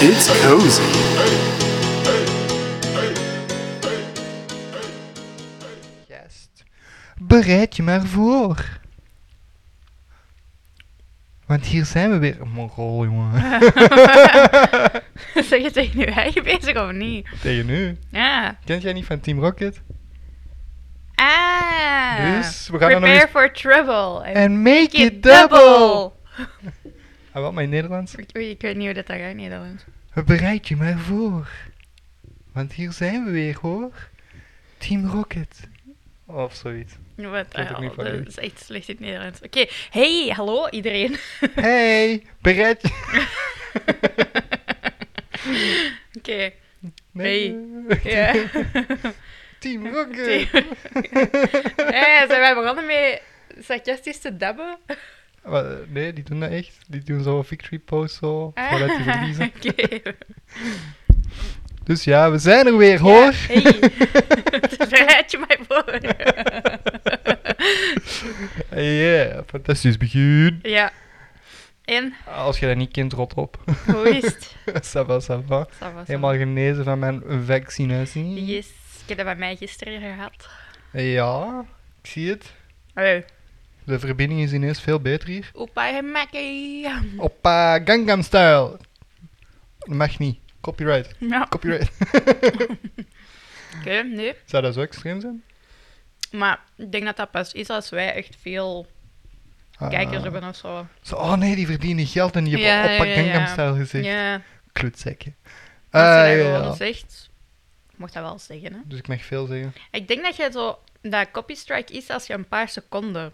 It's cozy. Juist. Bereid je maar voor. Want hier zijn we weer. Mongool, jongen. zeg je tegen je eigen bezig of niet? Tegen nu. Ja. Kent jij niet van Team Rocket? Ah. Dus, we gaan er nog Prepare eens... for trouble. and And Eh, make make it double! Ah, wat, mijn Nederlands? Ik, oei, ik weet niet hoe dat daar gaat in Nederland. Bereid je maar voor. Want hier zijn we weer, hoor. Team Rocket. Of zoiets. Wat weet ik niet al, van dat jullie. is echt slecht in het Nederlands. Oké, hey, hallo iedereen. Hey, bereid je... Oké, ja. Team Rocket. hey, Eh, zijn wij begonnen met sarcastisch te dabben? Wa- Nee, die doen dat echt. Die doen zo victory pose zo, voordat die verliezen. Ah. Oké. Dus ja, we zijn er weer, hoor. Hey, dus bereid je mij voor. Ja, fantastisch begin. ja. En, Als je dat niet kent, rot op. hoe is het? ça va, ça va. Ça va, ça va. Helemaal genezen van mijn vaccinatie. Yes, ik heb dat bij mij gisteren gehad. Ja, ik zie het. Hallo. De verbinding is ineens veel beter hier. Opa en Mackie. Op eh, Gangnam Style. Mag niet. Copyright. Ja, oké, Copyright. nee. Zou dat zo extreem zijn? Maar ik denk dat dat pas is als wij echt veel Ah. kijkers hebben of zo. Zo, oh nee, die verdienen geld en die hebben Ja, op ja, Gangnam ja. Style gezegd. Ja, als Klutzekje. je Ah, dat Eh, ja, gewoon ja. zegt, ik mocht dat wel zeggen. Hè? Dus ik mag veel zeggen. Ik denk dat je zo dat copy strike is als je een paar seconden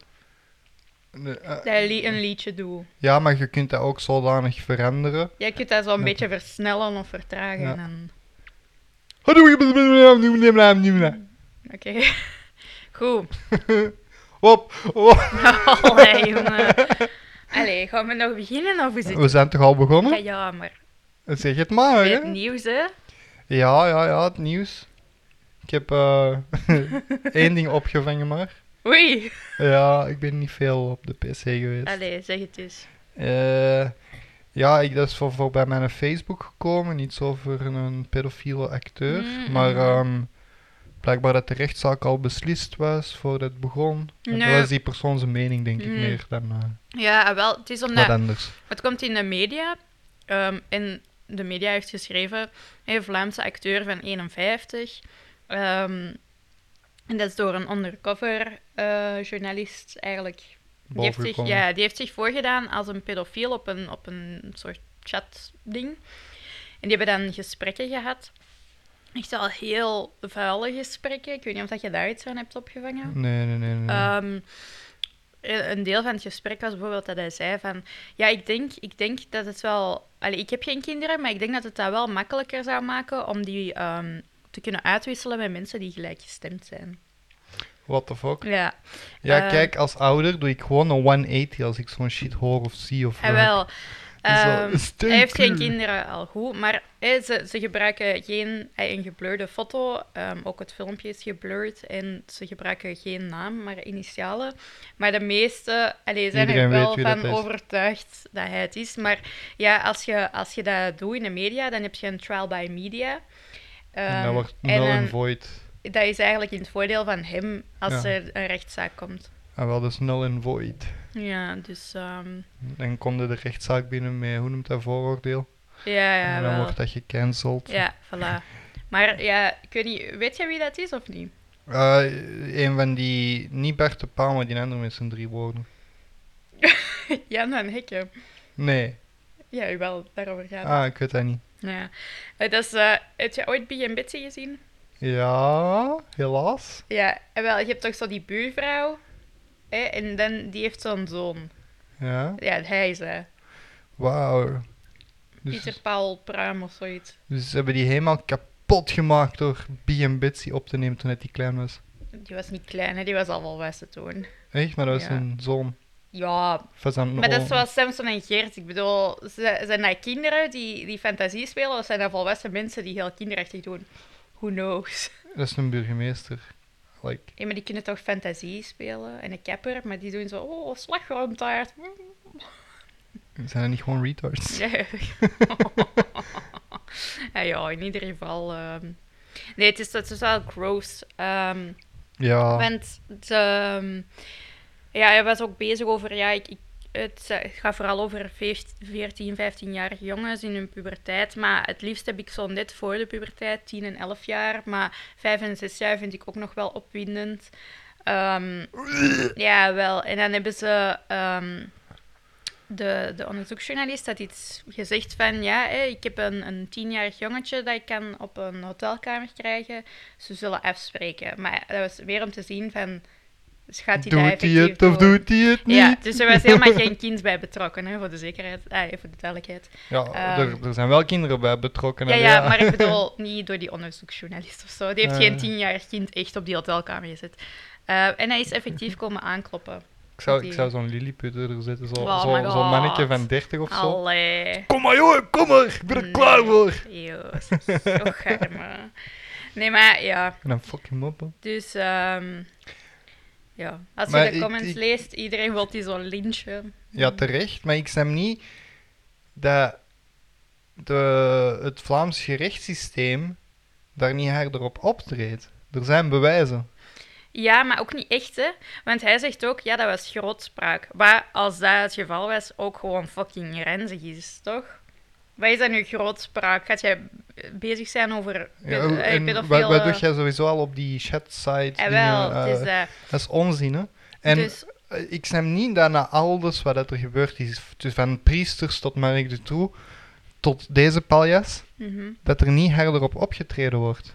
Nee, eh, dat je li- een liedje doet. ja, maar je kunt dat ook zodanig veranderen. Je kunt dat zo een Ja. beetje versnellen of vertragen. Ja. En... Oké. Goed. Op, op. Allee, jongen. Allee, gaan we nog beginnen of hoe zit We zijn toch al Ja, begonnen? ja, maar Oh, Zeg het maar, bij het hè? nieuws, hè? Ja, ja, ja, het nieuws. Ik heb eh, één ding opgevangen, maar. Oei. Ja, ik ben niet veel op de PC geweest. Allee, zeg het eens. Eh, ja, ik, dat is voor, voor bij mijn Facebook gekomen. Niet zo voor een pedofiele acteur. Mm, Maar mhm. ehm, blijkbaar dat de rechtszaak al beslist was voordat het begon. En Nee. Dat was die persoon zijn mening, denk ik, Mm. meer dan eh, Ja, ah, wel, het is wat omdat... anders. Het komt in de media. ehm, en de media heeft geschreven... Een Vlaamse acteur van 51. ehm, en dat is door een undercover eh, journalist eigenlijk... Die heeft, zich, bovengekomen. ja, die heeft zich voorgedaan als een pedofiel op een, op een soort chatding. En die hebben dan gesprekken gehad. Echt wel heel vuile gesprekken. Ik weet niet of dat je daar iets van hebt opgevangen. Nee, nee, nee. nee. Ehm, e- een deel van het gesprek was bijvoorbeeld dat hij zei van... Ja, ik denk, ik denk dat het wel... Allee, ik heb geen kinderen, maar ik denk dat het dat wel makkelijker zou maken om die ehm, te kunnen uitwisselen met mensen die gelijkgestemd zijn. What the fuck? Ja, Ja, eh, kijk, als ouder doe ik gewoon een 180 als ik zo'n shit hoor of zie of... hij hoor. Ah, wel. Zo, Ehm, steun hij heeft geen puur. kinderen, al goed. Maar eh, ze, ze gebruiken geen... eh, een geblurde foto. ehm, ook het filmpje is geblurred. En ze gebruiken geen naam, maar initialen. Maar de meeste allee, zijn Iedereen er weet wel wie van dat is. overtuigd dat hij het is. Maar ja, als je, als je dat doet in de media, dan heb je een trial by media. En Ehm, dat wordt en nul en dan- void. dat is eigenlijk in het voordeel van hem als Ja. er een rechtszaak komt. Ah, wel, dat is nul en void. Ja, dus... ehm, Dan komt er de rechtszaak binnen met, hoe noemt dat, vooroordeel? ja, ja, en dan wel. wordt dat gecanceld. Ja, voilà. Maar ja, ik weet niet, weet jij wie dat is of niet? Eh, een van die, niet Bert de Pauw, maar die andere met zijn drie woorden. Jan van Hekken. Nee, Ja, u wel, daarover gaat. het. ah, ik weet dat niet. Ja. Eh, Dat is, eh, heb je ooit Big en Betsy gezien? Ja, helaas. Ja, en wel, je hebt toch zo die buurvrouw? Hè? En dan, die heeft zo'n zoon. Ja, Ja, hij is eh, wauw. Dus, Pieter Paul Pruim of zoiets. dus ze hebben die helemaal kapot gemaakt door B&B Bitsy op te nemen toen het die klein was. Die was niet klein, hè? die was al volwassen toen. Echt, maar dat was Ja. een zoon. Ja, Of was dat een maar dat is oom? zoals Samson en Geert. Ik bedoel, ze- zijn dat kinderen die, die fantasie spelen of zijn dat volwassen mensen die heel kinderachtig doen? Who knows? Dat is een burgemeester. Like, Ja, maar die kunnen toch fantasie spelen en een kapper, maar die doen zo, oh, slagroomtaart. zijn dat niet gewoon retards? Nee. Ja, ja, in ieder geval. ehm, Nee, het is, het is wel gross. ehm, Ja, want de, ehm, ja, hij was ook bezig over. Ja, ik, ik, het eh, gaat vooral over 14, 15-jarige jongens in hun puberteit. Maar het liefst heb ik zo net voor de puberteit, 10 en 11 jaar. Maar 5 en 6 jaar vind ik ook nog wel opwindend. Ehm, ja, wel. En dan hebben ze. ehm, de, de onderzoeksjournalist had iets gezegd van ja, hè, ik heb een, een tienjarig jongetje dat ik kan op een hotelkamer krijgen. Ze zullen afspreken. Maar dat was weer om te zien van gaat die daar doet hij effectief het of doen? doet hij het niet? Ja, dus er was helemaal geen kind bij betrokken, hè, voor de zekerheid, ah, ja, voor de duidelijkheid. Ja, Ehm, er, er zijn wel kinderen bij betrokken. Ja, en ja, maar ik bedoel, niet door die onderzoeksjournalist of zo. Die heeft Ah, ja. geen tienjarig kind echt op die hotelkamer gezet. Eh, en hij is effectief komen aankloppen. Ik zou, die- ik zou zo'n Lilliput er zetten, zo'n Oh zo, my zo'n mannetje God. van 30 of zo. Allee. Kom maar jongen, kom maar, ik ben er Nee. klaar voor. Joost, och arme. Nee, maar ja, En dan fucking moppen. dus... ehm, ja, als Maar je de ik- comments ik- leest, iedereen wil die zo'n lintje. Ja, terecht, maar ik snap niet dat de, het Vlaams gerechtssysteem daar niet harder op optreedt. Er zijn bewijzen. Ja, maar ook niet echt, hè. Want hij zegt ook, ja, dat was grootspraak. Maar als dat het geval was, ook gewoon fucking renzig is, toch? Wat is dat nu grootspraak? Gaat jij bezig zijn over Ja, ped- eh, en wat, pedofiele... wat doe jij sowieso al op die chat-site? Eh, dingen, wel, eh, het is dat. dat is onzin, hè? En Dus, eh, ik snap niet dat na alles wat dat er gebeurd is, dus van priesters tot Mark de Toe, tot deze paljas, mhm. dat er niet harder op opgetreden wordt.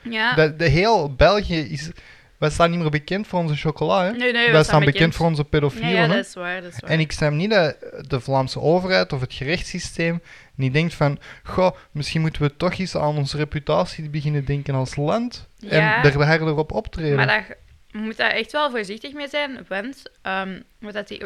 Ja, Dat de heel België is. Wij staan niet meer bekend voor onze chocola, hè? nee, nee, wij we staan bekend, voor onze pedofielen. Ja, ja, hè? dat is waar, dat is waar. En ik snap niet dat de Vlaamse overheid of het gerechtssysteem niet denkt van... Goh, misschien moeten we toch eens aan onze reputatie beginnen denken als land. Ja. En daar harder op optreden. Maar daar moet daar echt wel voorzichtig mee zijn, want ehm, wat dat die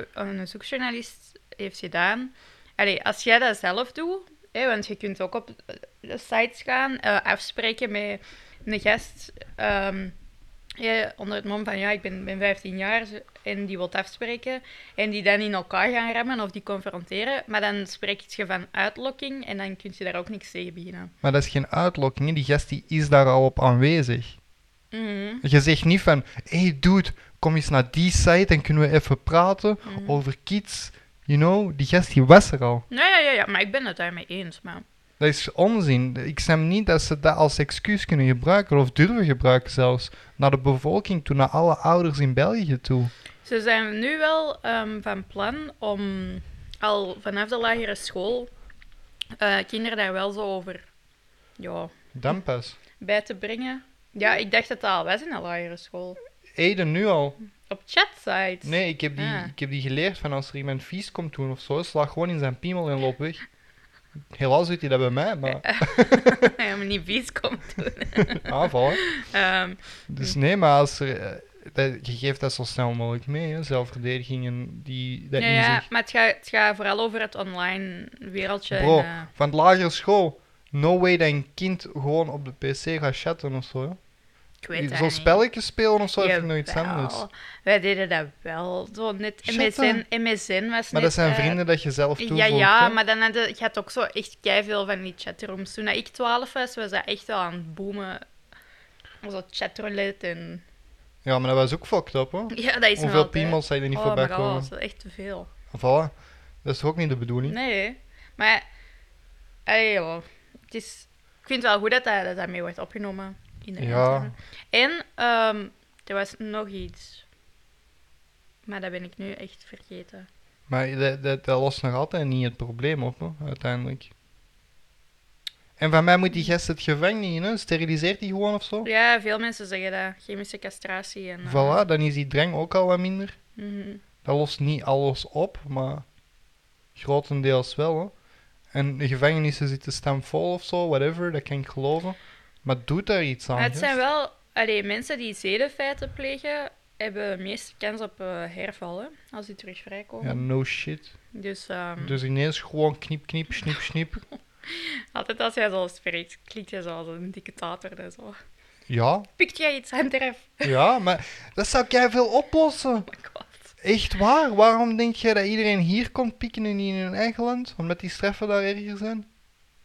onderzoeksjournalist heeft gedaan... Allee, als jij dat zelf doet, hè, want je kunt ook op eh, de sites gaan, eh, afspreken met een gast... ehm, hè, onder het mom van ja, ik ben, ben 15 jaar zo- en die wilt afspreken. En die dan in elkaar gaan remmen of die confronteren. Maar dan spreek je van uitlokking en dan kun je daar ook niks tegen beginnen. Maar dat is geen uitlokking. hè. Die gast die is daar al op aanwezig. Mhm. Je zegt niet van, hé hey dude, kom eens naar die site en kunnen we even praten Mhm. over kids. You know, die gast die was er al. Nou ja, ja, ja, maar ik ben het daarmee eens. Maar... Dat is onzin. Ik snap niet dat ze dat als excuus kunnen gebruiken, of durven gebruiken zelfs, naar de bevolking toe, naar alle ouders in België toe. Ze zijn nu wel ehm, van plan om al vanaf de lagere school eh, kinderen daar wel zo over ja, Dan pas. bij te brengen. Ja, ik dacht dat dat al was in de lagere school. Eden nu al. Op chatsites. Nee, ik heb, die, Ah. ik heb die geleerd van als er iemand vies komt doen of zo, sla gewoon in zijn piemel en loop weg. Helaas doet hij dat bij mij, maar Hij moet niet vies komt doen. aanval. hè. Ehm, Dus nee, maar als er, eh, dat, je geeft dat zo snel mogelijk mee, hè? zelfverdediging en die, dat ja, ja, inzicht. maar het gaat het gaat vooral over het online wereldje. en, Bro. eh, Van de lagere school, no way dat een kind gewoon op de pc gaat chatten of zo. hè. ik weet dat Zo niet. spelletjes spelen of zo, vind ik nog iets Jawel. anders. Wij deden dat wel. Zo net Shut MSN, MSN Maar was net, dat zijn eh, vrienden dat je zelf toevoegt. Ja, ja, hè. maar dan had je, je had ook zo echt veel van die chatrooms. Toen ik 12 was, was dat echt wel aan het boomen. Zo chatroulette en... ja, maar dat was ook fucked up, hoor. Ja, dat is nog Hoeveel altijd. piemels zijn er niet oh, voorbij my god, komen? dat is echt te veel. Voilà. Dat is toch ook niet de bedoeling? Nee, maar... Allee, joh. Het is... Ik vind het wel goed dat dat, dat, dat mee wordt opgenomen. In de Ja. En ehm, er was nog iets. Maar dat ben ik nu echt vergeten. Maar dat, dat, dat lost nog altijd niet het probleem op, hè, uiteindelijk. En van mij moet die gast het gevangenis in, hè? Steriliseert die gewoon of zo? Ja, veel mensen zeggen dat. Chemische castratie en... eh, Oh. Voilà, dan is die drang ook al wat minder. mhm. Dat lost niet alles op, maar grotendeels wel. Hè. En de gevangenissen zitten stamvol of zo, whatever, dat kan ik geloven. Maar doet daar iets aan? Maar het gast? zijn wel... Allee, mensen die zedenfeiten plegen, hebben de meeste kans op eh, hervallen, als die terug Ja, vrijkomen. no shit. Dus ehm, Dus ineens gewoon knip, knip, snip, snip. altijd als jij zo spreekt, klinkt je zo als een dictator en zo. Ja, Pikt jij iets aan het erf? ja, maar dat zou jij veel oplossen. Oh my god. Echt waar? Waarom denk jij dat iedereen hier komt pieken en niet in hun eigen land? Omdat die straffen daar erger zijn?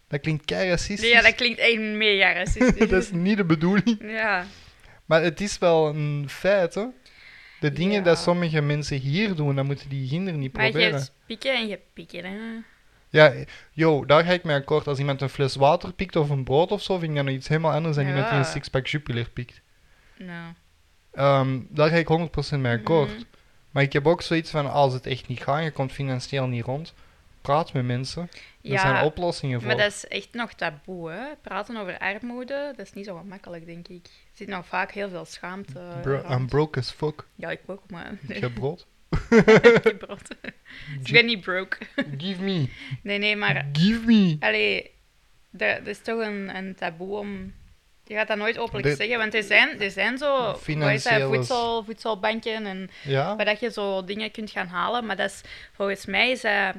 Dat klinkt kei racistisch. Ja, dat klinkt echt mega racistisch. dus dat is niet de bedoeling. Ja. Maar het is wel een feit, hè? De dingen Ja. dat sommige mensen hier doen, dan moeten die kinderen niet Maar je proberen. hebt pieken en je hebt pieken, hè. Ja, yo, daar ga ik mee akkoord. Als iemand een fles water pikt of een brood of zo, vind ik dat nog iets helemaal anders dan iemand die een Ja. sixpack Jupiler pikt. Nou. Ehm, daar ga ik 100% mee akkoord. Mhm. Maar ik heb ook zoiets van, als het echt niet gaat, je komt financieel niet rond, praat met mensen. Er zijn Ja, oplossingen voor. maar dat is echt nog taboe, hè. Praten over armoede, dat is niet zo gemakkelijk, denk ik. Er zit nog vaak heel veel schaamte Bro, rond. I'm broke as fuck. Ja, ik ook, maar... Ik heb brood. Ik heb brood. ik ben niet broke. Give me. Nee, nee, maar... Give me. Allee, er, er is toch een, een taboe om... Je gaat dat nooit openlijk Dit- zeggen, want er zijn, er zijn zo... Wat is dat, Financiële- voedsel, voedselbanken en... Ja, waar dat je zo dingen kunt gaan halen. Maar dat is, volgens mij is dat,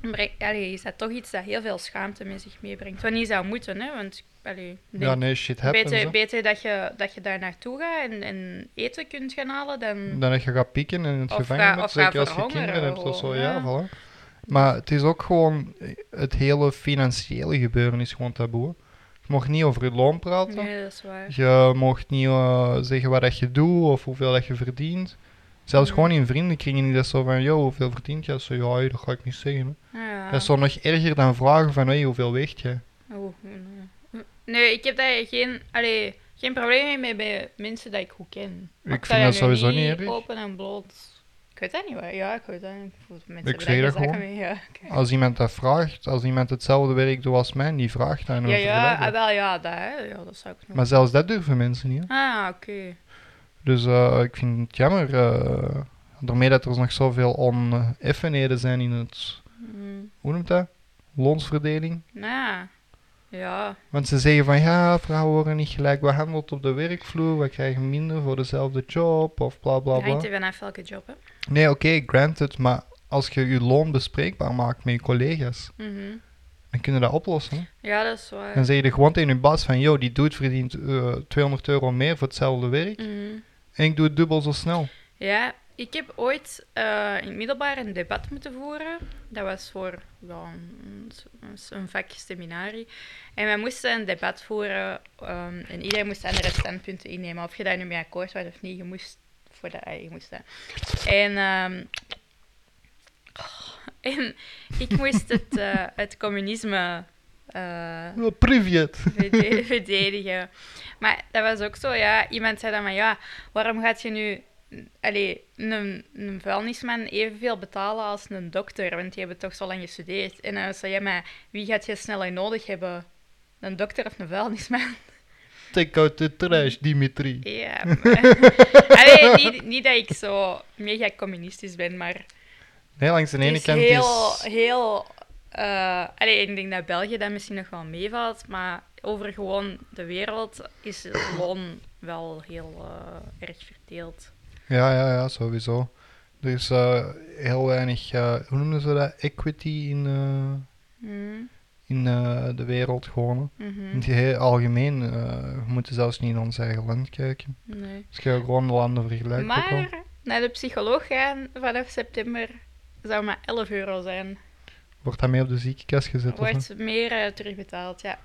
bre- allee, is dat toch iets dat heel veel schaamte met zich meebrengt. Wat niet zou moeten, hè? Want allee, ik ja denk, nee, shit happens. beter, hè. beter dat, je, dat je daar naartoe gaat en, en eten kunt gaan halen dan. Mm. Dan dat je gaat pieken en in het Of gevangen ga- bent, of ga zeker als je verhongeren kinderen hebt of zo. gewoon, Ja, ja. voilà. Maar het is ook gewoon, het hele financiële gebeuren is gewoon taboe. Je mag niet over je loon praten. Nee, dat is waar. Je mocht niet eh, zeggen wat dat je doet of hoeveel dat je verdient. Zelfs Mhm. gewoon in vriendenkringen die dat zo van, joh, hoeveel verdient je? Zo, ja, hey, dat ga ik niet zeggen. hè." Ja. Dat is zo nog erger dan vragen van, hey, hoeveel weegt jij? Oeh, nee. nee, ik heb daar geen, allee, geen probleem mee bij mensen dat ik goed ken. Ik zou vind daar dat nu sowieso niet niet erg. Open en bloot. Ik weet dat niet waar. Ja, ik weet dat niet. Mensen hebben zeg daar geen dat zakken gewoon. mee, ja. Als iemand dat vraagt, als iemand hetzelfde werk doet als mij, die vraagt dan. Ja, over ja, dat. ah, wel ja, dat, hè. ja, dat zou ik nog. Maar zelfs dat durven mensen niet. hè. Ah, oké. Dus eh, ik vind het jammer, eh, daarmee dat er nog zoveel oneffenheden zijn in het, Mm, hoe noemt dat? Loonsverdeling. nou ja. Ja, Want ze zeggen van ja, vrouwen worden niet gelijk behandeld op de werkvloer, we krijgen minder voor dezelfde job of bla bla dat bla. hangt er vanaf welke job, hè. Nee, oké, granted, maar als je je loon bespreekbaar maakt met je collega's, Mhm. dan kunnen dat oplossen. hè. Ja, dat is waar. Dan zeg je er gewoon tegen je baas van yo, die doet verdient eh, 200 euro meer voor hetzelfde werk Mhm. en ik doe het dubbel zo snel. Ja, ik heb ooit eh, in het middelbaar een debat moeten voeren. Dat was voor ja, een, een vak seminarie. En we moesten een debat voeren ehm, en iedereen moest andere standpunten innemen. Of je daar nu mee akkoord was of niet, je moest voor de eh, je moest dat. En, ehm, en ik moest het, eh, het communisme eh, Wel, Privet. verde- verdedigen. Maar dat was ook zo, ja. Iemand zei dan maar, ja, waarom gaat je nu allee, een, een vuilnisman evenveel betalen als een dokter? Want die hebben toch zo lang gestudeerd. En dan zei ja, maar wie gaat je sneller nodig hebben? Een dokter of een vuilnisman? Take out the trash, Dimitri. Ja, maar... Allee, niet, niet dat ik zo mega communistisch ben, maar... Nee, langs de ene het is kant heel, is... heel. eh, allee, ik denk dat België dat misschien nog wel meevalt, maar over gewoon de wereld is het loon wel heel eh, erg verdeeld. Ja, ja, ja, sowieso. Er is eh, heel weinig, eh, hoe noemen ze dat, equity in... eh, Mm, in eh, de wereld gewoon. hè. In mhm, het geheel algemeen eh, we moeten zelfs niet in ons eigen land kijken. nee. Als je gewoon de landen vergelijkt. ook al. Maar naar de psycholoog gaan vanaf september zou maar 11 euro zijn. Wordt dat mee op de ziekenkast gezet? of Wordt meer eh, terugbetaald, ja.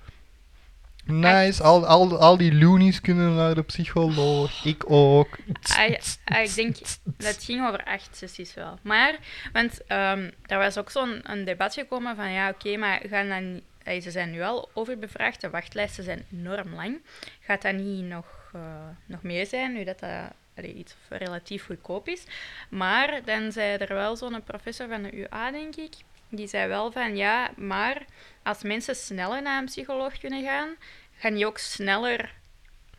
zo? Nice, al, al, al die loonies kunnen naar de psycholoog. Ik ook. Ah, ja, ah, ik denk dat ging over acht sessies wel. Maar, want ehm er was ook zo'n een debat gekomen van ja, oké, maar gaan dan, niet- eh, ze zijn nu al overbevraagd, de wachtlijsten zijn enorm lang. Gaat dat niet nog, eh, nog meer zijn, nu dat dat allee, iets relatief goedkoop is? Maar dan zei er wel zo'n professor van de UA, denk ik, die zei wel van ja, maar als mensen sneller naar een psycholoog kunnen gaan, gaan die ook sneller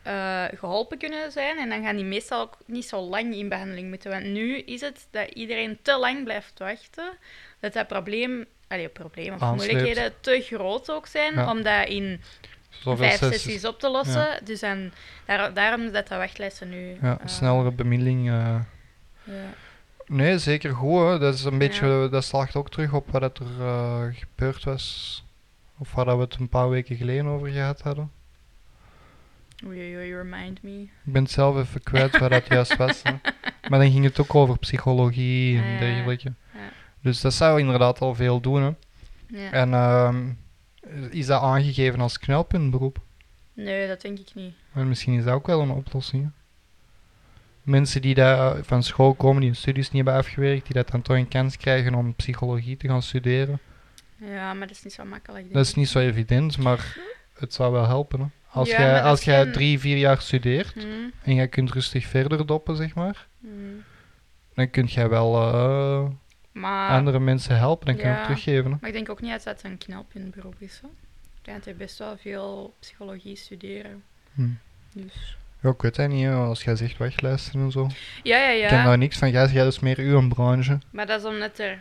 eh, geholpen kunnen zijn. En dan gaan die meestal ook niet zo lang in behandeling moeten. Want nu is het dat iedereen te lang blijft wachten. Dat dat probleem, allee, probleem of Aansleept. moeilijkheden te groot ook zijn. Ja. Om dat in Zoveel vijf sessies. sessies. op te lossen. Dus dan, daar- daarom dat de wachtlijsten nu... Ja, eh, snellere bemiddeling. eh. ja. Nee, zeker goed. Hè. Dat, is een beetje, dat slaagt ook terug op wat dat er eh, gebeurd was. Of waar dat we het een paar weken geleden over gehad hadden. Oei, oei, oei, remind me. Ik ben het zelf even kwijt waar dat juist was. hè. Maar dan ging het ook over psychologie en Ah, ja. dergelijke. Ja. Dus dat zou inderdaad al veel doen. Hè. Ja. En ehm, Is dat aangegeven als knelpuntberoep? Nee, dat denk ik niet. Maar misschien is dat ook wel een oplossing. hè. Mensen die daar eh, van school komen, die hun studies niet hebben afgewerkt, die dat dan toch een kans krijgen om psychologie te gaan studeren. Ja, maar dat is niet zo makkelijk. denk Dat is ik. niet zo evident, maar het zou wel helpen. Hè. Als Ja, jij maar dat als is jij geen- drie, vier jaar studeert Hmm, en jij kunt rustig verder doppen, zeg maar, hmm. dan kun jij wel eh, Maar, andere mensen helpen en kunnen Ah. Ja. teruggeven. hè. maar ik denk ook niet dat dat een knelpuntberoep is. Hoor. Ik denk dat hij best wel veel psychologie studeren. Hmm. Dus. Ja, ik weet dat niet, hè, als jij zegt wegluisteren en zo. Ja, ja, Ik ken ja. daar niks van. Jij, jij is meer uw branche. Maar dat is omdat er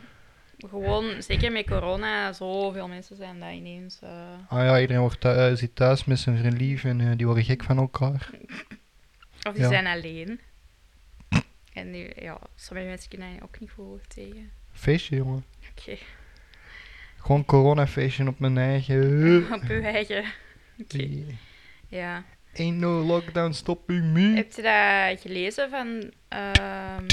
gewoon, zeker met corona, zoveel mensen zijn dat ineens. eh, Ah ja, iedereen wordt thu- eh, zit thuis met zijn vriend lief en eh, die worden gek van elkaar. of die Ja. zijn alleen. En die, ja, sommige mensen kunnen daar ook niet voor tegen. Feestje, jongen. Oké, Gewoon coronafeestje op mijn eigen. op uw eigen. Oké, Hm. ja. Ain't no lockdown stopping me. Heb je dat gelezen van... ehm,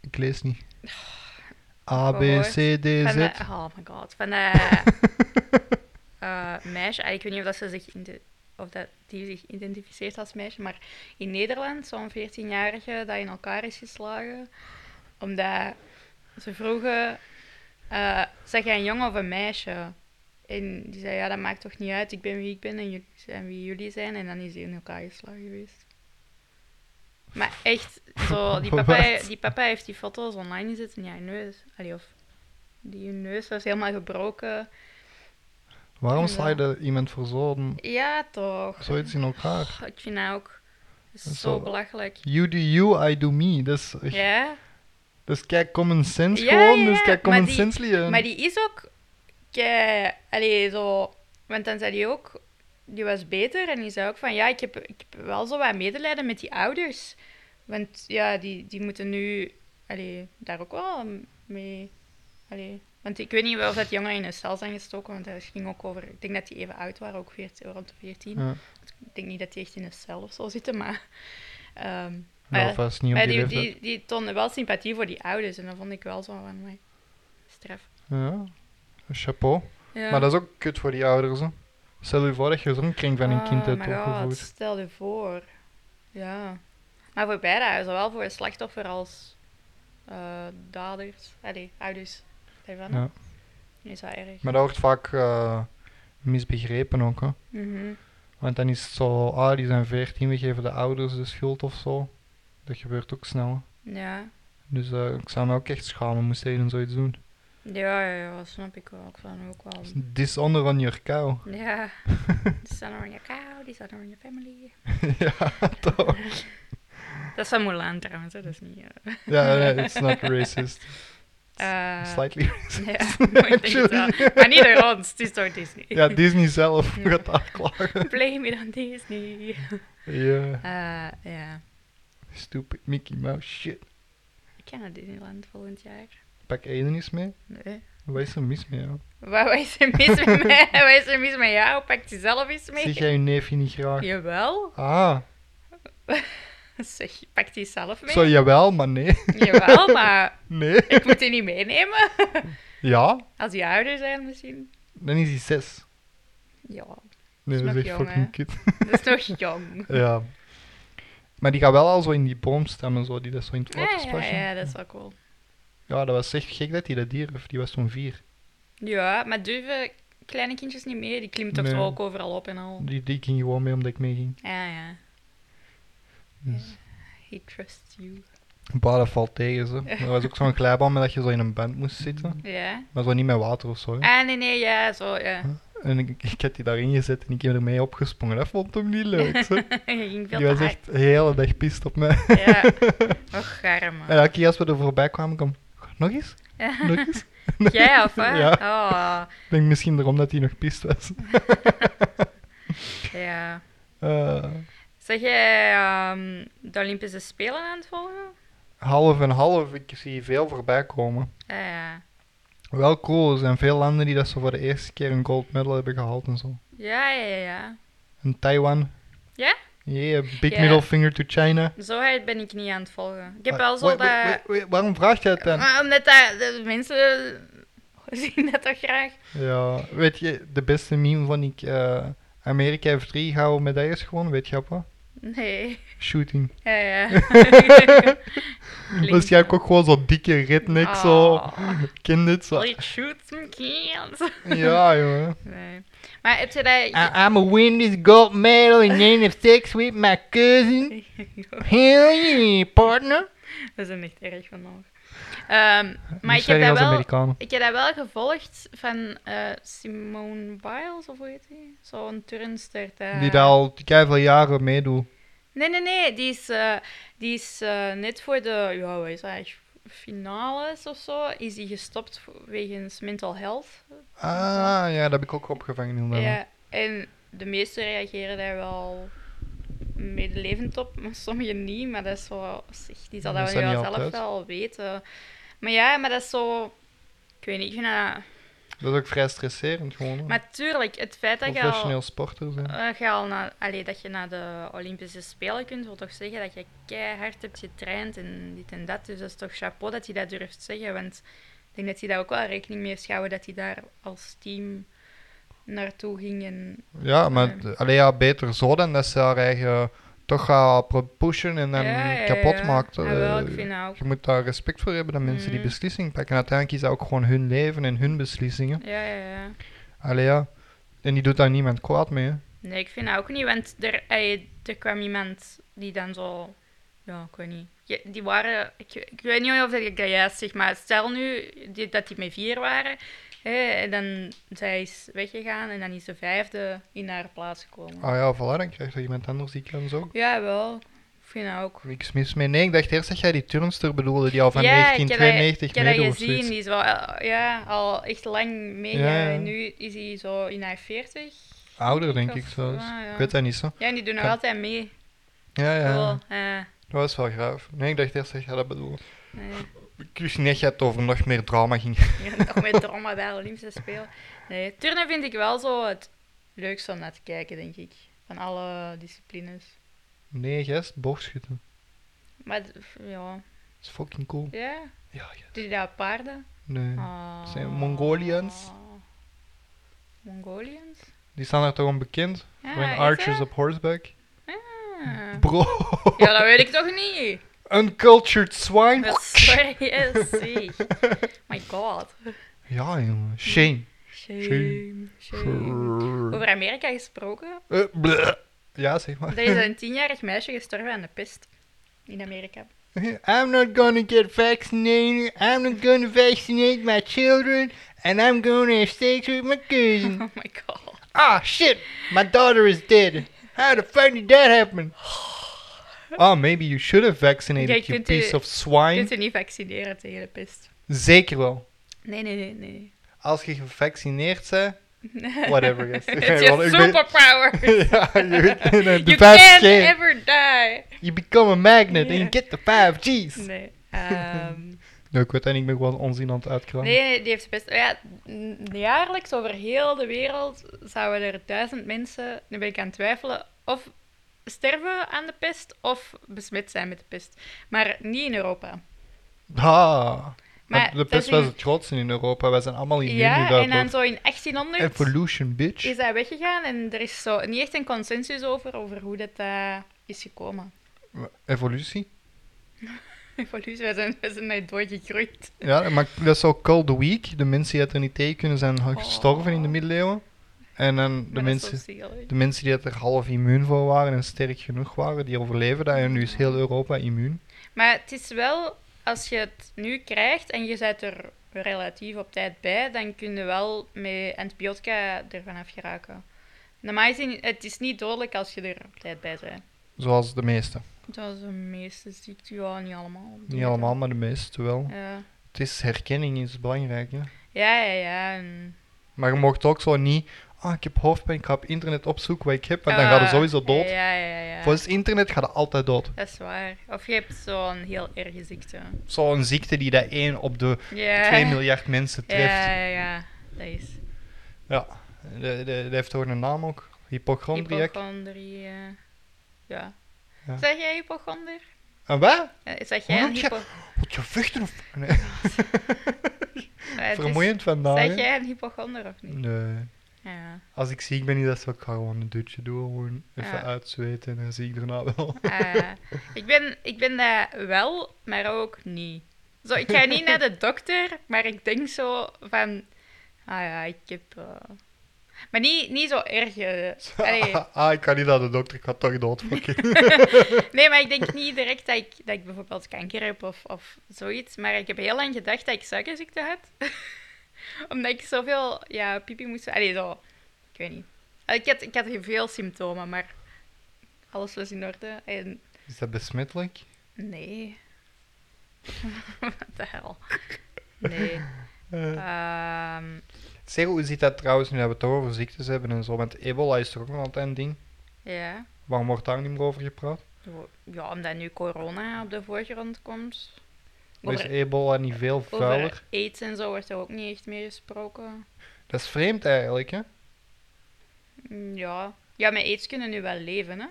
Ik lees niet. Oh. A, B, gehoord. C, D, van Z. dat- oh my god. Van dat eh, meisje... ah, Ik weet niet of, dat ze zich inte- of dat die zich identificeert als meisje, maar in Nederland zo'n 14-jarige dat in elkaar is geslagen. Omdat ze vroegen... eh zeg jij een jongen of een meisje? En die zei, ja, dat maakt toch niet uit. Ik ben wie ik ben en jullie zijn wie jullie zijn. En dan is hij in elkaar geslagen geweest. Maar echt, zo, die, papa, Wat? die papa heeft die foto's online gezet en ja, hun neus... Allee, of... Die hun neus was helemaal gebroken. Waarom sla je dat iemand voor zo'n- Ja, toch. zoiets in elkaar? Goh, Ik vind dat ook Dat is zo wel- belachelijk. You do you, I do me. Dat is, echt- Ja, dat is kijk common sense Ja, gewoon. ja, Dat is ja, kijk maar common die- sense leren. maar die is ook... Kei, allee, zo... Want dan zei die ook... Die was beter en die zei ook van... Ja, ik heb, ik heb wel zo wat medelijden met die ouders. Want ja, die, die moeten nu... Allee, daar ook wel mee... Allee... Want ik weet niet of dat jongeren in een cel zijn gestoken, want dat ging ook over... Ik denk dat die even oud waren, ook 14, rond de 14. Ja. Ik denk niet dat die echt in een cel of zo zitten, maar... ehm, Nou, maar- vast niet op Maar die die, leeftijd. die, die toonde wel sympathie voor die ouders. En dat vond ik wel zo van mij. Straf. Ja. Chapeau. Ja. Maar dat is ook kut voor die ouders. Hè. Stel je voor dat je zo'n kring van een kind Oh hebt my god, opgevoed. Stel je voor. Ja. Maar voor beide, zowel voor het slachtoffer als eh, daders. Allee, ouders. Daarvan. Ja. Is dat erg? Maar dat wordt vaak eh, misbegrepen ook. Hè. Mhm. Want dan is het zo, ah, die zijn 14, we geven de ouders de schuld of zo. Dat gebeurt ook snel. hè. Ja. Dus eh, ik zou me ook echt schamen, moest tegen zoiets doen. Ja, ja, ja, dat snap ik wel. Ik zou nu ook wel. Dishonor on your cow. Ja. Die staan er aan je kou, die staan er aan je family. ja, toch? Dat is van Mulan trouwens, hè, dat is niet. eh, Ja, nee, it's not racist. eh, Slightly. Ja, maar ik denk het wel. Maar niet door ons, het is door Disney. Ja, Disney zelf Ja. gaat daar klagen. Blame it on Disney. Ja, Eh, ja. stupid Mickey Mouse shit. Ik ga naar Disneyland volgend jaar. Pak Aiden eens mee. Nee. Wat is er mis mee? joh? Waar waar is er mis met mij? Waar is er mis met jou? Pak je zelf eens mee. Zeg jij je neefje niet graag? Jawel. Ah, Zeg, pak die zelf mee. zo jawel, maar nee. Jawel, maar Nee. ik moet die niet meenemen. Ja, Als die ouder zijn misschien. dan is hij zes. Ja, Nee, Dat dat is is nog echt jong, fucking kut. dat is nog jong. Ja. Maar die gaat wel al zo in die boomstammen, zo, die dat zo in het Ja, water ja, splashen. ja, dat is wel cool. Ja, dat was echt gek dat hij dat dier, die was toen vier. Ja, maar durven kleine kindjes niet mee? Die klimt toch Nee. ook overal op en al. Die, die ging gewoon mee omdat ik meeging. Ja, ja. Dus, He trusts you. bah, dat valt tegen, zo. Er was ook zo'n glijbaan met dat je zo in een band moest zitten. Ja. Maar zo niet met water of zo. hè. Ah, nee, nee, ja, zo, ja. En ik, ik had die daarin gezet en ik heb ermee opgesprongen. Dat vond hem niet leuk, zo. Je ging veel Die was te echt de hele dag pist op mij. hard. Ja. Och, garm. En elke keer als we er voorbij kwamen, kwam nog eens? Nog eens? Jij of hè? Ja. Oh, Ik denk misschien daarom dat hij nog pist was. ja. Eh, Zeg jij ehm, de Olympische Spelen aan het volgen? half en half, ik zie veel voorbij komen. Ja, Ah, ja. Wel cool, er zijn veel landen die dat ze voor de eerste keer een gold medal hebben gehaald en zo. Ja, ja, ja. En Taiwan. Ja? Yeah, big Ja. middle finger to China. Zo hard ben ik niet aan het volgen. Ik heb Ah, wel zo wait, dat... Ah. wait, wait, wait, waarom vraag je het dan? Maar omdat dat, de mensen zien dat toch graag. Ja, weet je, de beste meme van ik eh, Amerika heeft drie gouden medailles gewonnen, weet je wat? Nee. Shooting. Ja, ja. Dus jij hebt ook gewoon zo'n dikke redneck, zo, Oh. kind dit, zo. Let's shoot some kids. Ja, jongen. Nee. Maar heb je dat... I'm a win this gold medal and then have sex with my cousin. Hell yeah, partner. We zijn echt erg vandaag. Ehm maar ik zeg je heb, dat als wel, Amerikanen. ik heb dat wel gevolgd van eh, Simone Biles, of hoe heet die? Zo'n turnster. dat- Die daar al keiveel jaren meedoet. Nee, nee, nee. Die is, eh, die is eh, net voor de ja, wat is dat, eigenlijk, finales of zo, is die gestopt voor- wegens mental health. Ah, ja, dat heb ik ook opgevangen inderdaad. Ja, en de meesten reageren daar wel medelevend op, maar sommigen niet. Maar dat is zo... zeg, die zal Dat dat, is dat wel niet zelf altijd. wel weten. Maar ja, maar dat is zo... Ik weet niet, ik vind dat... Dat is ook vrij stresserend gewoon. hè. Maar tuurlijk, het feit dat je Professioneel al, sporter zijn. eh, je al naar, allee, dat je naar de Olympische Spelen kunt, wil toch zeggen dat je keihard hebt getraind en dit en dat. Dus dat is toch chapeau dat hij dat durft zeggen. Want ik denk dat hij daar ook wel rekening mee heeft gehouden dat hij daar als team naartoe ging en Ja, maar Ja. het- allee, ja, beter zo dan dat ze haar eigen toch gaat pro- pushen en dan Ja, ja, kapot ja. maakt. Ah, Eh, wel, ik vind dat ook. je moet daar respect voor hebben dat mensen die Mhm. beslissing pakken. Uiteindelijk is dat ook gewoon hun leven en hun beslissingen. Ja, ja, ja. Allee, ja. En die doet daar niemand kwaad mee. hè. Nee, ik vind dat ook niet, want er, ey, er kwam iemand die dan zo... Ja, ik weet niet. Je- Die waren... Ik, ik weet niet of ik dat juist zeg, maar stel nu die- dat die met vier waren. Hè, en dan zij is weggegaan en dan is de vijfde in haar plaats gekomen. Ah ja, voilà, dan krijgt er iemand anders die kans ook. Ja, wel. Ik vind dat ook. Niks mis mee. Nee, ik dacht eerst dat jij die turnster bedoelde die al van ja, ik 1992 heb dat- Ik heb meedoet of dat gezien, zoiets. die is wel eh, ja, al echt lang mee. Ja, ja. Nu is hij zo in haar 40. Ouder denk Of- ik zelfs. ah, ja. Ik weet dat niet zo. Ja, en die doen nog Kan- altijd mee. Ja, ja. Cool. Ja, Dat was wel graaf. Nee, ik dacht eerst dat jij dat bedoelde. nee. Ik wist niet dat je het over nog meer drama ging. Ja, toch met drama bij de Olympische Spelen. Nee, turnen vind ik wel zo het leukste om naar te kijken, denk ik. Van alle disciplines. Nee, gest, boogschieten. Maar d- ja, Dat is fucking cool. ja. Ja, gest. Doe je dat op paarden? Nee. Ah. Zijn Mongolians? Mongolians? Die staan daar toch om bekend? Ja, When is archers dat? op horseback. Ah. Bro, Ja, dat weet ik toch niet? uncultured swine. Dat is serieus, zeg. My god. Ja, jongen. Shame. Shame, shame. Over Amerika gesproken. Eh, bleh. Ja, zeg maar. Er is een tienjarig meisje gestorven aan de pest. In Amerika. I'm not gonna get vaccinated. I'm not gonna vaccinate my children. And I'm gonna have sex with my cousin. Oh my god. Ah, shit! My daughter is dead. How the fuck did that happen? Oh, maybe you should have Ja, vaccinated, je you kunt u- piece of Je swine. kunt je niet vaccineren tegen de pest. Zeker wel. Nee, nee, nee, nee. Als je gevaccineerd bent, whatever. yes. Het Ja, is wel, je ik weet- superpower. ja, je weet- nee, de you 5G. can't ever die. You become a magnet and you Ja. get the 5G's. Nee, Nee. ehm, ik weet en ik ben gewoon onzin aan het uitkramen. nee, die heeft de pest. Ja, n- jaarlijks over heel de wereld zouden er duizend mensen, nu ben ik aan het twijfelen, of sterven aan de pest of besmet zijn met de pest. Maar niet in Europa. Ah, Maar want de dat pest is was in- het grootste in Europa. Wij zijn allemaal immuun Ja, en dan hiervoor. zo in 1800 Evolution, bitch. is dat weggegaan en er is zo niet echt een consensus over, over hoe dat eh, is gekomen. Evolutie? Evolutie, wij zijn, wij zijn net doorgegroeid. Ja, maar dat is zo Cold the Week. De mensen die het er niet tegen kunnen zijn gestorven in de Oh. middeleeuwen. En dan de Maar dat is mensen, zo zielig. de mensen die het er half immuun voor waren en sterk genoeg waren, die overleven dat. En nu is heel Europa immuun. Maar het is wel, als je het nu krijgt en je zit er relatief op tijd bij, dan kun je wel met antibiotica ervan af geraken. Normaal gezien, het is niet dodelijk als je er op tijd bij bent. Zoals de meeste. Dat is de meeste ziekte, ja, niet allemaal. Niet allemaal, maar de meeste wel. Ja, Het is herkenning is belangrijk. Hè? ja, ja. ja, en- Maar je mocht ook zo niet. Ah, ik heb hoofdpijn, ik ga op internet opzoeken wat ik heb. Want dan ga je Ah, sowieso dood. Ja, ja, ja. Volgens het internet ga je altijd dood. Dat is waar. Of je hebt zo'n heel erge ziekte. Zo'n ziekte die dat 1 op de Ja. 2 miljard mensen treft. Ja, ja, ja. Dat is De- de- Dat heeft toch een naam ook? Hypochondriac. hypochondrie. eh, Ja. Ja. Zeg jij hypochonder? En wat? Eh, Zeg Hoe jij een noemt je- hypo... Moet je vluchten of... Nee. Eh, maar het is- Vermoeiend vandaag. Zeg hè? Mm. jij een hypochonder of niet? Nee. Ja. Als ik ziek ben, is dat zo, ik ga gewoon een dutje doen, gewoon even Ja. uitzweten en dan zie ik daarna wel. Eh, ik, ben, ik ben dat wel, maar ook niet. Zo, ik ga niet naar de dokter, maar ik denk zo van... Ah ja, ik heb... eh, Maar niet, niet zo erg... eh, allee. ah, ik kan niet naar de dokter, ik ga toch doodfokken. Nee, maar ik denk niet direct dat ik, dat ik bijvoorbeeld kanker heb of, of zoiets. Maar ik heb heel lang gedacht dat ik suikerziekte had. Omdat ik zoveel ja, pipi moest... Allee, zo... Ik weet niet. Eh, Ik had, ik had heel veel symptomen, maar alles was in orde. En is dat besmettelijk? nee. Wat de hel. Nee. Ehm, Zeg, hoe zit dat trouwens nu dat we het toch over ziektes hebben en zo? Want ebola is toch ook nog altijd een ding? ja. Waarom wordt daar niet meer over gepraat? Ja, omdat nu corona op de voorgrond komt. Maar is Over, ebola niet veel vuiler? over aids en zo wordt er ook niet echt meer gesproken. Dat is vreemd eigenlijk, hè? Mm, Ja. Ja, maar aids kunnen nu wel leven, hè?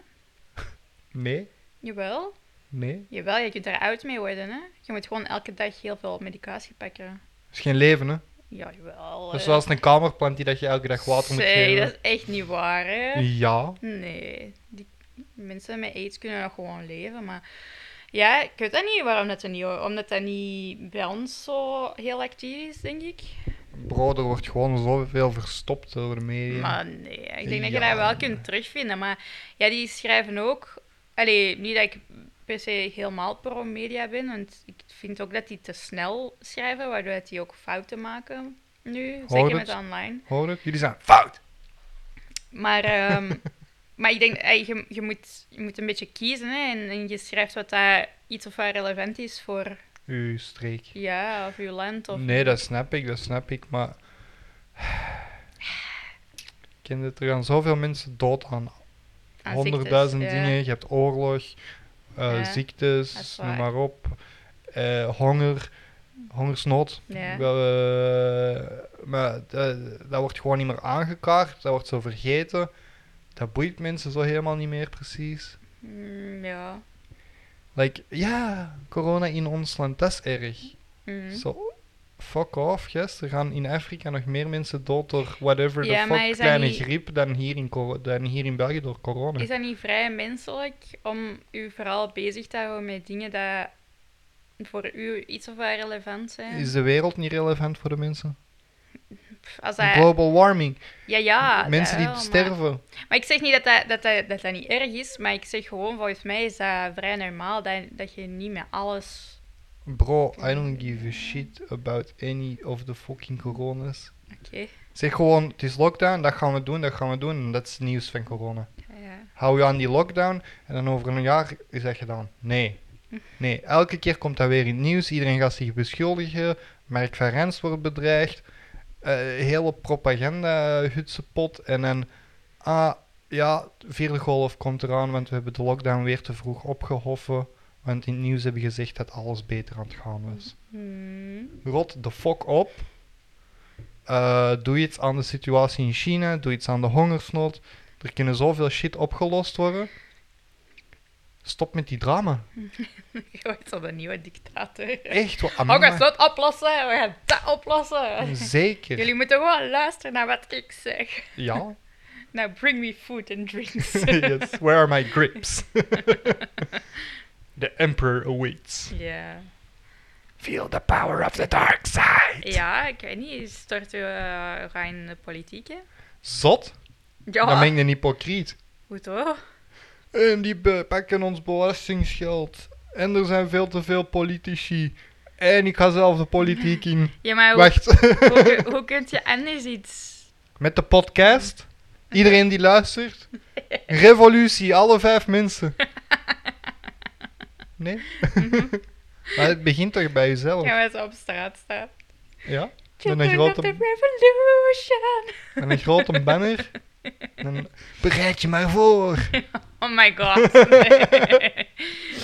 Nee, Jawel. nee. Jawel, je kunt er oud mee worden, hè? Je moet gewoon elke dag heel veel medicatie pakken. Dat is geen leven, hè? Ja, jawel. Dat is eh. zoals een kamerplant die dat je elke dag water moet Zeg, geven. dat is echt niet waar, hè? Ja, Nee. Die mensen met aids kunnen nog gewoon leven, maar... Ja, ik weet dat niet waarom dat er niet... Omdat dat niet bij ons zo heel actief is, denk ik. bro, er wordt gewoon zoveel verstopt door de media. Maar nee, ik denk dat je Ja, dat wel nee. kunt terugvinden. Maar ja, die schrijven ook. Allee, niet dat ik per se helemaal pro-media ben, want ik vind ook dat die te snel schrijven, waardoor dat die ook fouten maken nu. zeker het? met online. Hoor het? Jullie zijn fout! Maar, ehm, maar ik denk, ey, je, je, moet, je moet een beetje kiezen hè, en, en je schrijft wat daar iets of wat relevant is voor Uw streek. ja, of je land. Of... Nee, dat snap ik, dat snap ik, maar... Ken dit, er gaan zoveel mensen dood aan. aan ziektes, Honderdduizend ja. dingen, je hebt oorlog, eh, Ja, dat ziektes, is noem waar. maar op. eh, honger, hongersnood. Ja. Wel, eh, maar dat, dat wordt gewoon niet meer aangekaart, dat wordt zo vergeten. Dat boeit mensen zo helemaal niet meer precies. Mm, ja. Like, ja, corona in ons land, dat is erg. Mm. Zo, fuck off, yes. Er gaan in Afrika nog meer mensen dood door whatever Ja, the maar is fuck dat kleine niet- griep dan hier, in coro- dan hier in België door corona. Is dat niet vrij menselijk om u vooral bezig te houden met dingen dat voor u iets of wat relevant zijn? Is de wereld niet relevant voor de mensen? Pff, Als dat... Global warming. Ja, ja. mensen dat die wel, maar- sterven. Maar... ik zeg niet dat dat, dat, dat, dat dat niet erg is, maar ik zeg gewoon, volgens mij is dat vrij normaal dat, dat je niet met alles... Bro, I don't give a shit about any of the fucking coronas. Oké. Zeg gewoon, het is lockdown, dat gaan we doen, dat gaan we doen. En dat is het nieuws van corona. Ja, ja. Hou je aan die lockdown en dan over een jaar is dat gedaan. Nee. Nee, elke keer komt dat weer in het nieuws. Iedereen gaat zich beschuldigen. Mark van Rens wordt bedreigd. Eh, hele propaganda hutsepot. En dan, ah ja, de vierde golf komt eraan, want we hebben de lockdown weer te vroeg opgehoffen. Want in het nieuws hebben gezegd dat alles beter aan het gaan was. Hmm. Rot de fok op. Eh, doe iets aan de situatie in China. Doe iets aan de hongersnood. Er kunnen zoveel shit opgelost worden. Stop met die drama. Je wordt zo'n nieuwe dictator. Echt wat Oh, we gaan dat oplossen, we gaan dat oplossen. Zeker. Jullie moeten gewoon luisteren naar wat ik zeg. Ja. Nou, bring me food and drinks. yes. Where are my grips? the emperor awaits. Ja. Feel the power of the dark side. Ja, ik weet niet. Stort u eh, ga in de politiek, hè? Zot? Ja. Dan ben ik een hypocriet. Goed hoor. En die be- pakken ons belastingsgeld. En er zijn veel te veel politici. En ik ga zelf de politiek in. Ja, maar hoe, Wacht, hoe, hoe kun je anders iets... met de podcast. Iedereen die luistert. Revolutie, alle vijf mensen. Nee? maar het begint toch bij jezelf? Ja, maar zo op straat staan. Ja? Met een Children of grote, the revolution. met een grote banner. Dan bereid je maar voor. Oh my god.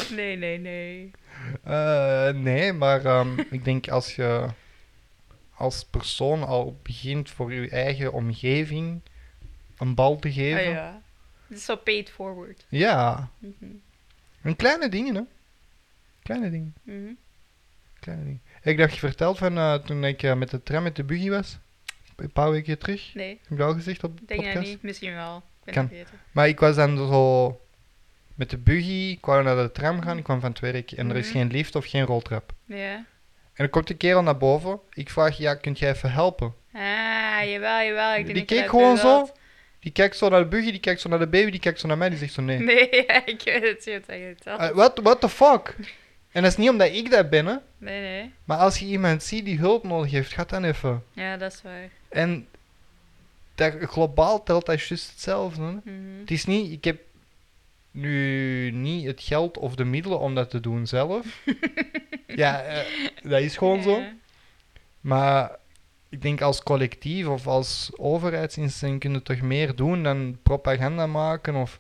Nee, nee, nee. nee. Eh, nee, maar ehm, ik denk als je als persoon al begint voor je eigen omgeving een bal te Ah, geven. ja. ja. Het is zo paid forward. ja, Mhm, een kleine dingen, hè? Kleine dingen. mhm. Kleine ding. Ik dacht je verteld van eh, toen ik eh, met de tram met de buggy was. Een paar weken terug. Nee, Heb je dat al gezegd op de denk podcast? dat niet. Misschien wel. Ik ben Kan. het vergeten. Maar ik was dan zo met de buggy, ik wou naar de tram gaan, ik kwam van het werk en er is Mhm. geen lift of geen roltrap. Ja. En dan komt die kerel naar boven. Ik vraag, ja, kunt jij even helpen? Ah, jawel, jawel. Ik denk die dat je keek dat gewoon wel zo. Die kijkt zo naar de buggy, die kijkt zo naar de baby, die kijkt zo naar mij, die zegt zo nee. had. Nee, ja, ik weet het. Je hebt dat verteld. Eh, what, what the fuck? En dat is niet omdat ik dat ben, hè. Nee, nee. Maar als je iemand ziet die hulp nodig heeft, ga dan even. Ja, dat is waar. En dat, globaal telt dat juist hetzelfde. hè. Mhm. Het is niet, ik heb nu niet het geld of de middelen om dat te doen zelf. ja, eh, dat is gewoon zo. Ja. Maar ik denk als collectief of als overheidsinstelling kunnen we toch meer doen dan propaganda maken of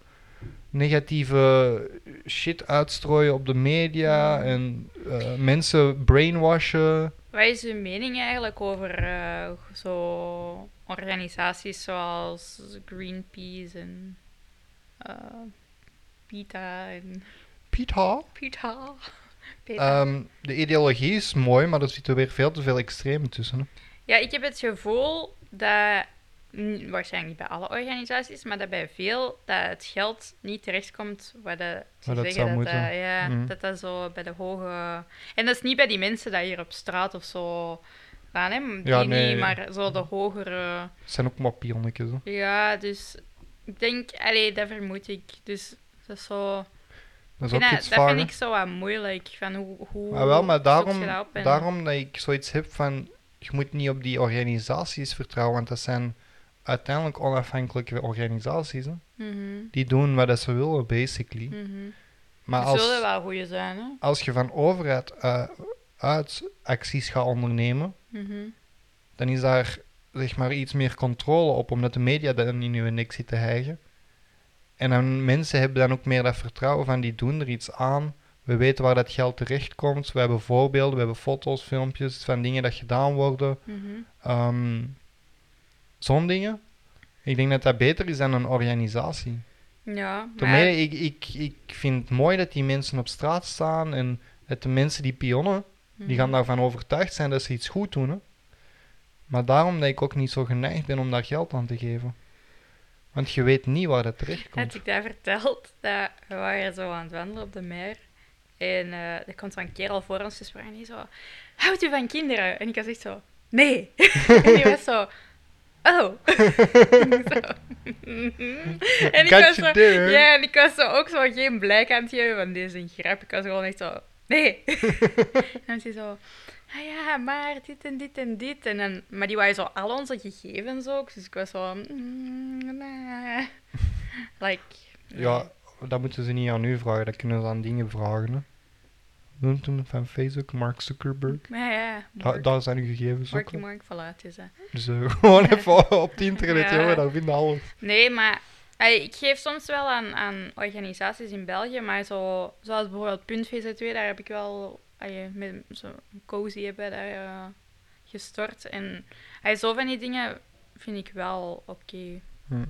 negatieve shit uitstrooien op de media Mm. en eh, mensen brainwashen. Wat is uw mening eigenlijk over eh, zo organisaties zoals Greenpeace en eh, PETA en Pieter. PETA? PETA. Ehm, de ideologie is mooi, maar er zitten weer veel te veel extremen tussen. hè. Ja, ik heb het gevoel dat, n- waarschijnlijk niet bij alle organisaties, maar dat bij veel, dat het geld niet terechtkomt waar dat ze Waar dat zeggen zou dat, dat, moeten. ja, Mhm. dat dat zo bij de hoge... En dat is niet bij die mensen dat hier op straat of zo gaan, hè, die Ja, nee, niet, nee. maar zo de hogere... Het zijn ook maar pionnetjes. hè. Ja, dus ik denk, allee, dat vermoed ik. Dus dat is zo. Dat is vind ook dat, iets dat vaag. vind hè. ik zo wat moeilijk. Van hoe, hoe Maar wel, maar zoek je daarom, dat op en- daarom dat ik zoiets heb van... Je moet niet op die organisaties vertrouwen, want dat zijn uiteindelijk onafhankelijke organisaties. Hè. Mhm, Die doen wat dat ze willen, basically. mhm. Maar Het zullen als, wel goede zijn, hè? als je van overheid eh, uit acties gaat ondernemen, Mhm. dan is daar zeg maar iets meer controle op, omdat de media dan in hun nek zit te hijgen. En dan, mensen hebben dan ook meer dat vertrouwen van, die doen er iets aan. We weten waar dat geld terechtkomt. We hebben voorbeelden, we hebben foto's, filmpjes van dingen dat gedaan worden. mhm. Ehm, Zo'n dingen. Ik denk dat dat beter is dan een organisatie. Ja, maar, Daarmee, ik, ik, ik vind het mooi dat die mensen op straat staan en dat de mensen die pionnen, Mhm. die gaan daarvan overtuigd zijn dat ze iets goed doen. Hè? Maar daarom dat ik ook niet zo geneigd ben om daar geld aan te geven. Want je weet niet waar dat terecht had komt. ik dat verteld? Dat we waren zo aan het wandelen op de meer. En eh, er komt zo'n kerel voor ons dus en die zo... Houdt u van kinderen? En ik was echt zo... Nee! en die was zo... Oh! Zo. "Mhm." en ik was zo... there. Ja, en ik was zo ook zo geen blijk aan het geven van deze is een grap. Ik was gewoon echt zo... Nee! en ze zo... Ah ja, maar dit en dit en dit. En dan, maar die waren zo al onze gegevens ook. Dus ik was zo... mm, nah. Like... nee. Ja, dat moeten ze niet aan u vragen, dat kunnen ze aan dingen vragen. Hè? Noemt hem van Facebook, Mark Zuckerberg. Maar ja, Da- Mark, daar zijn uw gegevens Mark, ook. die hè. Mark verlaat is hè. Dus eh, gewoon even op het internet, Ja. jongen, daar vinden we alles. Nee, maar ey, ik geef soms wel aan, aan organisaties in België, maar zo, zoals bijvoorbeeld Punt VZ2, daar heb ik wel ey, met zo'n cozy hebben daar eh, gestort. En ey, zo van die dingen vind ik wel oké. Hm.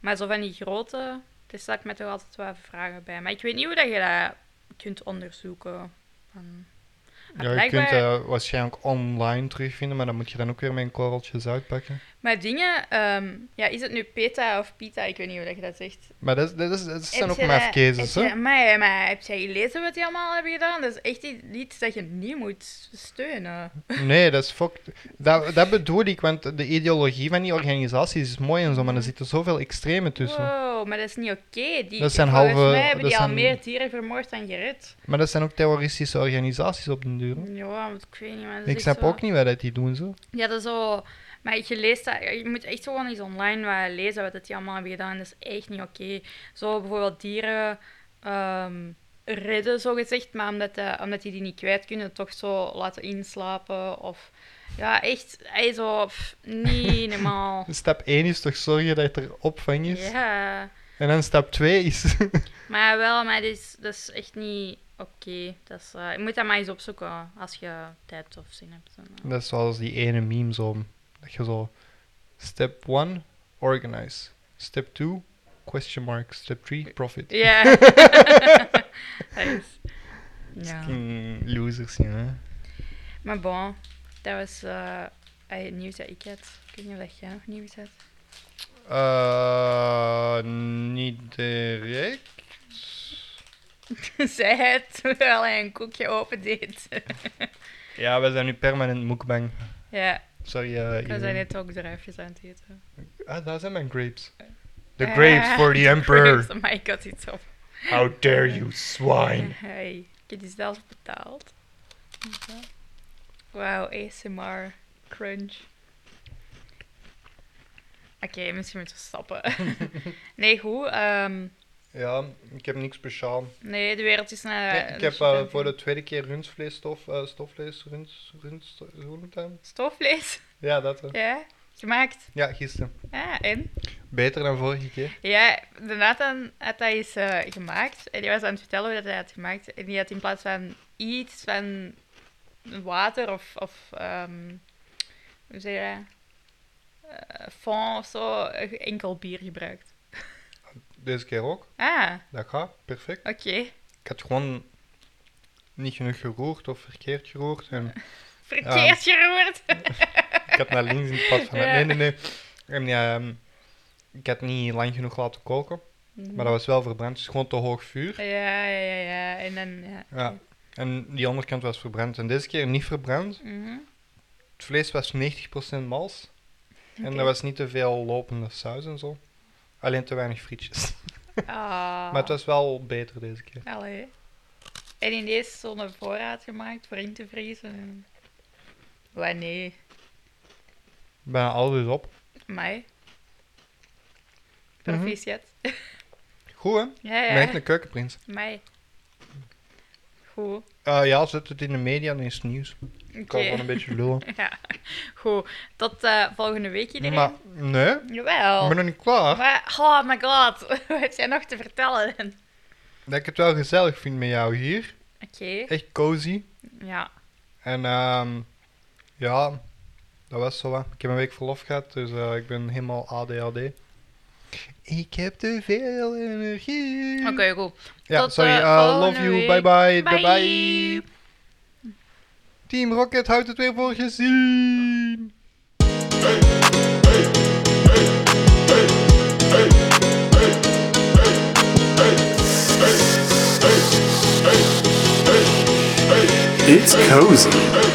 Maar zo van die grote, daar sta ik me toch altijd wel vragen bij. Maar ik weet niet hoe dat je dat kunt onderzoeken. Van- Maar Ja, je blijkbaar- kunt eh waarschijnlijk online terugvinden, maar dan moet je dan ook weer met een korreltjes uitpakken. Maar dingen, ehm, ja, is het nu PETA of PITA? Ik weet niet hoe dat je dat zegt. Maar dat, is- dat, is, dat zijn Heb ook je maar dat- cases, heb hè? je- Maar, maar heb jij gelezen wat die allemaal hebben gedaan? Dat is echt i- iets dat je niet moet steunen. Nee, dat is fuck. Dat, dat bedoel ik, want de ideologie van die organisaties is mooi en zo, maar er zitten zoveel extremen tussen. Wow, maar dat is niet oké. Die- Dus, Dat zijn volgens halve- mij hebben dat die al zijn- meer dieren vermoord dan gered. Maar dat zijn ook terroristische organisaties op den duur. hè. Ja, want ik weet niet, maar dat is Ik echt snap zo- ook niet wat dat die doen, zo. Ja, dat is zo... Maar je leest dat... Je moet echt gewoon eens online wat lezen wat dat die allemaal hebben gedaan. Dat is echt niet oké. Zo bijvoorbeeld dieren ehm, redden, zogezegd. Maar omdat, de- omdat die die niet kwijt kunnen, toch zo laten inslapen. Of... Ja, echt... ey, zo... pff, niet normaal. Stap 1 is toch zorgen dat er opvang is. Ja. En dan stap 2 is... Maar wel, maar dat is, dat is echt niet oké. Dat is, eh, je moet dat maar eens opzoeken als je tijd of zin hebt. En, eh. dat is zoals die ene meme, zo. Dat je zo... Step 1, organize. Step 2, question mark. Step 3, profit. Ja. Dat is- Ja. Mm, losers, ja. Maar bon, dat was eh, eh, het nieuws dat ik had. Ik weet niet of dat jij nog nieuws had. Eh, niet direct. Zij het, terwijl hij een koekje opendeed. Ja, we zijn nu permanent mukbang. ja, Sorry, eh we zijn iedereen. net ook druifjes aan het eten. Ah, daar zijn mijn grapes. The Ah, Eh, grapes for the emperor. Grapes, maar ik had iets op. How dare you, swine. Hey, ik heb die zelf betaald. Wauw, ASMR. Crunch. Oké, misschien moeten we stoppen. nee, goed. ehm, Ja, ik heb niks speciaal. nee, de wereld is naar... Nee, ik heb eh, voor de tweede keer rundvleesstof, eh stofvlees, runds, runds, hoe noemt het dan? Stofvlees? Ja, dat. eh. Ja? Gemaakt? Ja, gisteren. Ja, en? Beter dan vorige keer. Ja, de Nathan had dat eens eh, gemaakt. En die was aan het vertellen hoe dat hij had gemaakt. En die had in plaats van iets van water of... of ehm, hoe zeg je dat? Eh, fond of zo, eh, enkel bier gebruikt. Deze keer ook. Ah, Dat gaat, perfect. oké. Ik had gewoon niet genoeg geroerd of verkeerd geroerd. En Verkeerd geroerd. ik had naar links in het pad van... Ja. Nee, nee, nee. En, ehm, ik had niet lang genoeg laten koken. Maar dat was wel verbrand. Dus gewoon te hoog vuur. Ja, ja, ja, ja. En dan, ja. Ja. En die onderkant was verbrand. En deze keer niet verbrand. Mhm. Het vlees was 90% mals. En Oké. er was niet te veel lopende saus en zo. Alleen te weinig frietjes. Ah. Maar het was wel beter deze keer. Allee. En ineens zo'n voorraad gemaakt voor in te vriezen. en- Wanneer? Bijna alles op. Mij. Proficiat. Goed hè? Ik Ja, ben echt ja. een keukenprins. Mij. Goed. Eh, ja, zet het in de media en is het nieuws. Oké. Ik kan gewoon een beetje lullen. Ja. Goed. Tot eh, volgende week iedereen. Maar nee, ik Jawel. ben nog niet klaar. Maar- oh my god. Wat heb jij nog te vertellen? Oké. Dat ik het wel gezellig vind met jou hier. Echt cozy. Ja. En ehm, ja, dat was zo. wat. Ik heb een week verlof gehad, dus eh, ik ben helemaal ADHD. Ik heb te veel energie. Oké, goed. Ja, Tot, sorry. eh, eh, love volgende you. Bye week. bye. Bye Bye. bye. Team Rocket houdt het weer voor gezien. It's cozy.